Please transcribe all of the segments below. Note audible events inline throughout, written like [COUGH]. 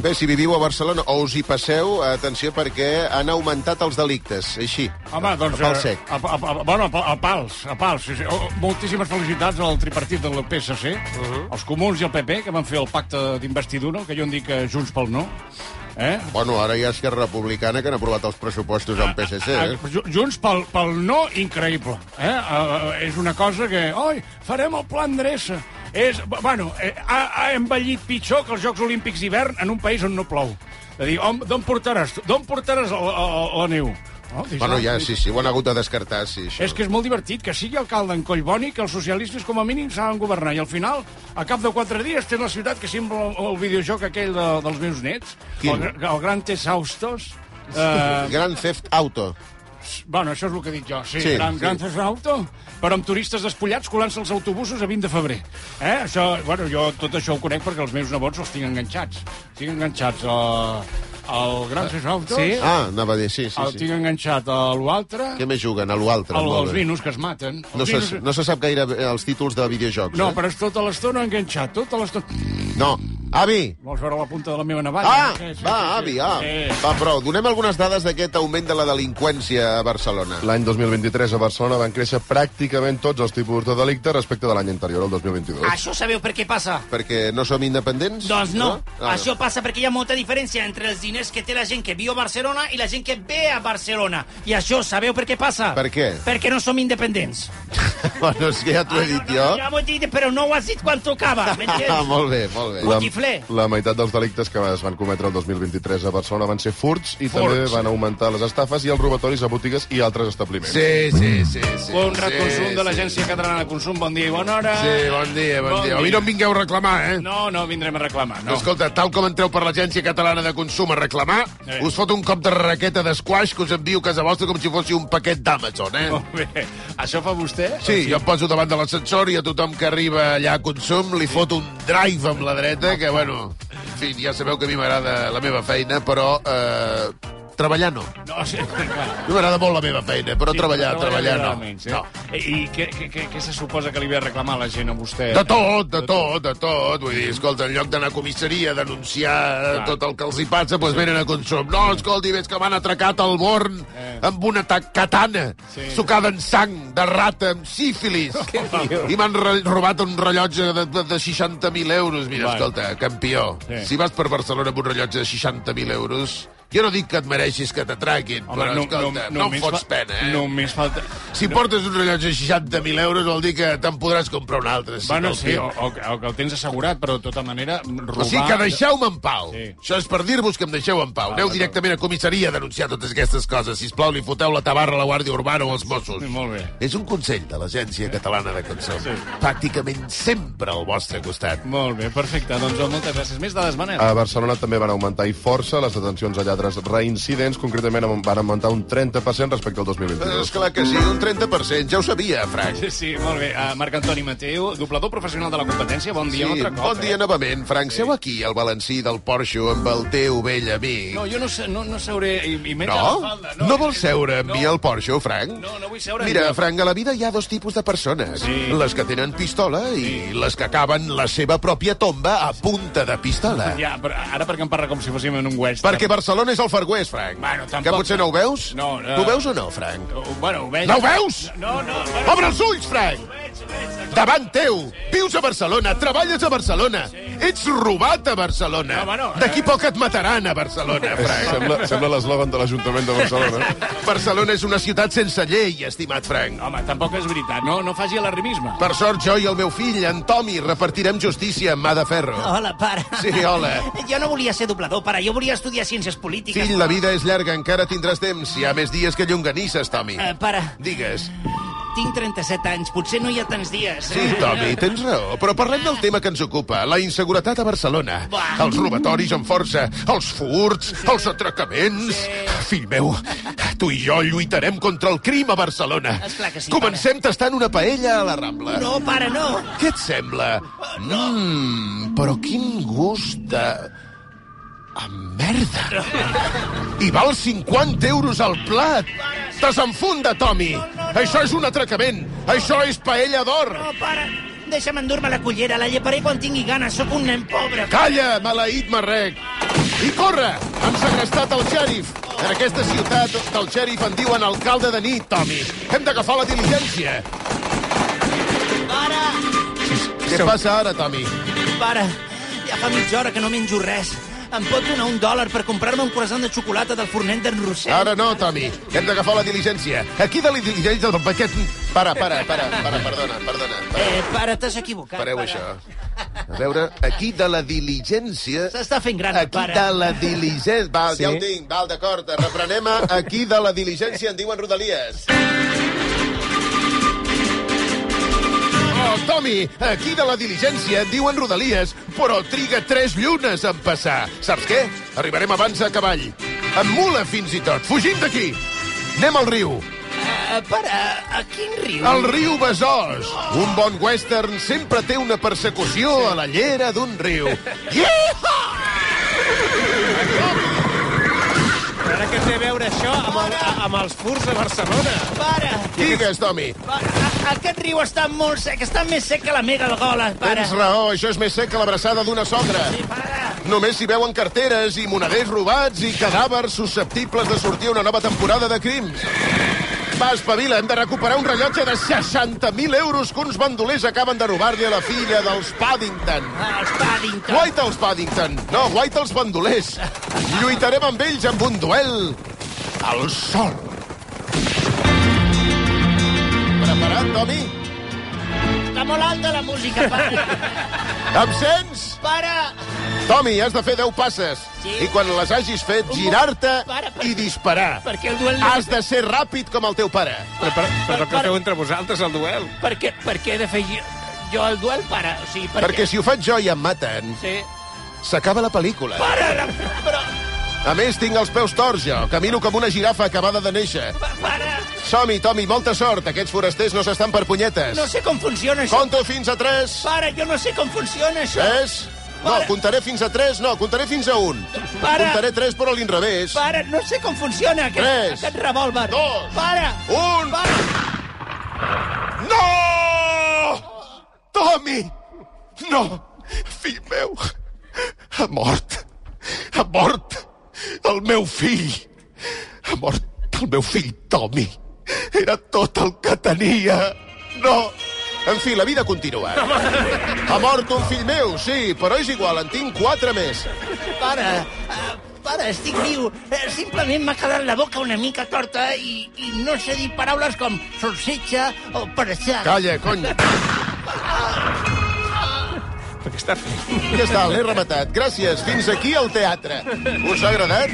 Bé, si viviu a Barcelona o us hi passeu, atenció, perquè han augmentat els delictes, així. Home, doncs... A pal eh, sec. A, a, a, bueno, a, pa- a pals, a pals. Sí, sí. Oh, Moltíssimes felicitats al tripartit del PSC, uh -huh. els comuns i el PP, que van fer el pacte d'investidura, que jo en dic eh, Junts pel No. Eh? Bueno, ara hi ha Esquerra Republicana que han aprovat els pressupostos amb PSC, Ah, eh? ju- Junts pel, pel no increïble. Eh? Ah, és una cosa que... Oi, farem el plan dreça. És, bueno, eh, ha, ha envellit pitjor que els Jocs Olímpics d'hivern en un país on no plou. És a dir, on- d'on portaràs, d'on portaràs la, la, la neu? Oh, dius, Bueno, ah, ja, sí, sí, ho han hagut de descartar, sí, això. És que és molt divertit que sigui alcalde en Collboni que els socialistes com a mínim saben governar i al final, a cap de quatre dies, té la ciutat que sembla el, el videojoc aquell de, dels meus nets, Quin? el, gra- el Gran Tesaustos. Eh, Grand Theft Auto. bueno, això és el que dic jo, sí, Sí, sí gran, sí. sí. gran Theft Auto, però amb turistes despullats colant-se els autobusos a 20 de febrer. Eh? Això, bueno, jo tot això ho conec perquè els meus nebots els tinc enganxats. Tinc enganxats a, al Gran Theft Auto, sí? Ah, anava a dir, sí, sí, el sí. tinc enganxat a l'altre, Què més juguen? A l'altre. el, els vinos que es maten. No Els se, vinos- no se sap gaire bé els títols de videojocs, No, eh? però és tota l'estona enganxat, tota l'estona... No. Avi! Vols veure la punta de la meva navalla? Ah! Sí, sí, Va, sí, sí. avi, ah. Sí. Va, però donem algunes dades d'aquest augment de la delinqüència a Barcelona. L'any 2023 a Barcelona van créixer pràcticament tots els tipus de delicte respecte de l'any anterior, el 2022. Ah, Això sabeu per què passa? Perquè no som independents? Doncs no. no? Ah, [LAUGHS] Això passa perquè hi ha molta diferència entre els diners que té la gent que viu a Barcelona i la gent que ve a Barcelona. I això sabeu per què passa? Per què? Perquè no som independents. Ah, Bueno, és que ja t'ho he dit no, jo. no, ja m'ho he dit, però no ho has dit quan tocava, [LAUGHS] Ah, m'entens? molt bé, molt bé. La- Botifler. la meitat dels delictes que es van cometre el 2023 a Barcelona van ser furts i Furts. també van augmentar les estafes i els robatoris a botigues i altres establiments. Sí, sí, sí. sí Bon sí, reconsum sí, de l'Agència Catalana de Consum, bon dia i bona hora. Sí, bon dia, bon, Bon dia. A mi dia. no em vingueu a reclamar, eh? No, no vindrem a reclamar, no. Escolta, tal com entreu per l'Agència Catalana de Consum a reclamar, Eh. us fot un cop de raqueta d'esquaix que us envio a casa vostra com si fóssiu un paquet d'Amazon, eh? Molt [LAUGHS] bé. Això fa vostè? Sí, jo em poso davant de l'ascensor i a tothom que arriba allà a consum li fot un drive amb la dreta, que, bueno, en fi, ja sabeu que a mi m'agrada la meva feina, però eh, treballar no. A No, sí, [LAUGHS] clar. mi m'agrada molt la meva feina, però treballar, treballar, li agrada no. menys, eh? no. I què, què, què, què se suposa que li ve a reclamar la gent a vostè? De tot, de tot, de tot. Vull dir, escolta, en lloc d'anar a comissaria a denunciar Clar. tot el que els hi passa, doncs venen a consum. No, escolti, veig que m'han atracat al Born eh. amb una ta- katana, sí. sucada en sang, de rata, amb [LAUGHS] sífilis. I m'han re- robat un rellotge de, de, de 60.000 euros. Mira, vale. Vale. escolta, campió, Sí. sí. si vas per Barcelona amb un rellotge de 60.000 euros... Jo no dic que et mereixis que t'atraquin, però, escolta, no, em només fots fa- pena, eh? Només falta... Si portes un rellotge de 60.000 euros vol dir que te'n podràs comprar un altre. Si Bueno, no el sí, tens. o, o, que- o que el tens assegurat, però de tota manera... Robar... O sigui que deixeu-me en pau. Sí. Ah, Sí. Això és per dir-vos que em deixeu en pau. Aneu directament a comissaria a denunciar totes aquestes coses. Si plau, li foteu la tabarra a la Guàrdia Urbana o als Mossos. Molt bé. És un consell de l'Agència Catalana de Consum. Sí. Pràcticament sempre al vostre costat. Molt bé, perfecte. Doncs oh, moltes gràcies. Més dades, Manel. Ah. A Barcelona també van augmentar i força les detencions a lladres reincidents, concretament van augmentar un 30% respecte al 2022. És clar que sí, un 30%, ja ho sabia, Frank. Sí, Sí, molt bé. Uh, Marc Antoni Mateu, doblador professional de la competència. Bon Sí, dia, un altre cop. bon dia Eh? novament, Frank. Seu aquí, al balancí del Porxo, amb el teu vell amic. No, jo no, sé, no, no seuré... I, i menys a la No? falda. eh? No vols seure amb mi no, al Porxo, Frank? No, no vull seure amb Mira, mi. Frank, a la vida hi ha dos tipus de persones. Sí. Les que tenen pistola i les que acaben la seva pròpia tomba a punta de pistola. Ja, però ara perquè em parla com si fóssim en un western. Perquè Barcelona és el Far West, Frank. Bueno, tampoc, que potser no ho veus? No, eh. Tu veus o no, Frank? Oh, Bueno, ho veig... No ho veus? No, no, bueno, Obre els ulls, Frank! Davant teu! Vius a Barcelona, treballes a Barcelona, ets robat a Barcelona. No, bueno, eh. D'aquí poc et mataran a Barcelona, Frank. Sembla, sembla l'eslògan de l'Ajuntament de [LAUGHS] Barcelona. Barcelona és una ciutat sense llei, estimat Frank. home, tampoc és veritat. No, no faci alarmisme. Per sort, jo i el meu fill, en Tomi, repartirem justícia amb mà de ferro. Hola, pare. Sí, hola. [LAUGHS] Jo no volia ser doblador, pare. Jo volia estudiar ciències polítiques. Fill, la vida és llarga, encara tindràs temps. Hi ha més dies que llonganisses, Tomi. Eh, pare, Digues. tinc 37 anys. Potser no hi ha tants dies. eh? Sí, Tomi, tens raó, però parlem del tema que ens ocupa, la inseguretat a Barcelona. Buah. Els robatoris amb força, els furts, els atracaments... Fill meu, tu i jo lluitarem contra el crim a Barcelona. Esclar que sí, Comencem tastant una paella a la Rambla. No, pare, no. Què et sembla? Mmm, però quin gust de... A merda! I val 50 euros al plat! Desenfunda, Tommy! Això és un atracament! Això és paella d'or! No, pare, deixa'm endur-me la cullera. La lleparé quan tingui gana. Sóc un nen pobre. Calla, maleït marrec! I corre! Han segrestat el xèrif. En aquesta ciutat del xèrif en diuen alcalde de nit, Tommy. Hem d'agafar la diligència. Para, Què passa ara, Tommy? para. Ja fa mitja hora que no menjo res. Em pot donar un dòlar per comprar-me un croissant de xocolata del fornet d'en Rossell? Ara no, Tommy. Hem d'agafar la diligència. Aquí de la diligència del paquet... Para, para, para, para, perdona, perdona. Para. Eh, para, t'has equivocat. Pareu para. això. A veure, aquí de la diligència... S'està fent gran, el Aquí pare. de la diligència... Val, sí? ja ho tinc, val, d'acord. Reprenem a aquí de la diligència, en diuen Rodalies. Oh, Tommy, aquí de la diligència en diuen Rodalies, però triga tres llunes en passar. Saps què? Arribarem abans a cavall. Amb mula, fins i tot. Fugim d'aquí. Anem al riu. Eh, para, a quin riu? El riu Besòs. Un bon western sempre té una persecució a la llera d'un riu. Yeehaw! Ara què té a veure això amb, el, amb els furs de Barcelona? Para, Digues, Tommy. para. A- Aquest riu està molt sec, està més sec que la mega del gola, para. Tens raó, això és més sec que l'abraçada d'una sogra. Para. Només s'hi veuen carteres i moneders robats i cadàvers susceptibles de sortir a una nova temporada de crims. Va, espavila, hem de recuperar un rellotge de 60.000 euros que uns bandolers acaben de robar-li a la filla dels Paddington. Ah, Els Paddington. White els Paddington. No, White els bandolers. Lluitarem amb ells amb un duel al sol. Preparat, Tommy? Està molt alta la música, [LAUGHS] para. Em sents? para. Tommy, has de fer 10 passes. Sí. I quan les hagis fet, Un girar-te moment. Para, para. i disparar. Per què el duel... Has de ser ràpid com el teu pare. Però, però, però què feu entre vosaltres, el duel? Per què, per què he de fer jo, jo el duel, para? O sigui, per Perquè si ho faig jo i em maten, Sí. s'acaba la pel·lícula. Para, la- però... A més, tinc els peus torts, jo. Camino com una girafa acabada de néixer. pa- Para. Som-hi, Tommy, molta sort. Aquests forasters no s'estan per punyetes. No sé com funciona això. Conto fins a 3. Para, jo no sé com funciona això. Tres? No, Para. comptaré fins a tres, no, comptaré fins a un. Para. Comptaré tres, però a l'inrevés. Para, no sé com funciona aquest, Tres. aquest revòlver. Dos. Para. Un! Para. No! Tommy! No! Fill meu! Ha mort! Ha mort! El meu fill! Ha mort el meu fill, Tommy! Era tot el que tenia! No! En fi, la vida continua. eh? Ha mort un fill meu, sí, però és igual, en tinc quatre més. Para. Ah, Para, estic viu. Eh, Simplement m'ha quedat la boca una mica torta i, i no sé dir paraules com salsitxa o perxar. Calla, cony. Perquè està fent... Ja està, l'he rematat. Gràcies. Fins aquí al teatre. Us ha agradat?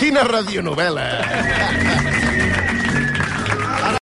Quina radionovel·la.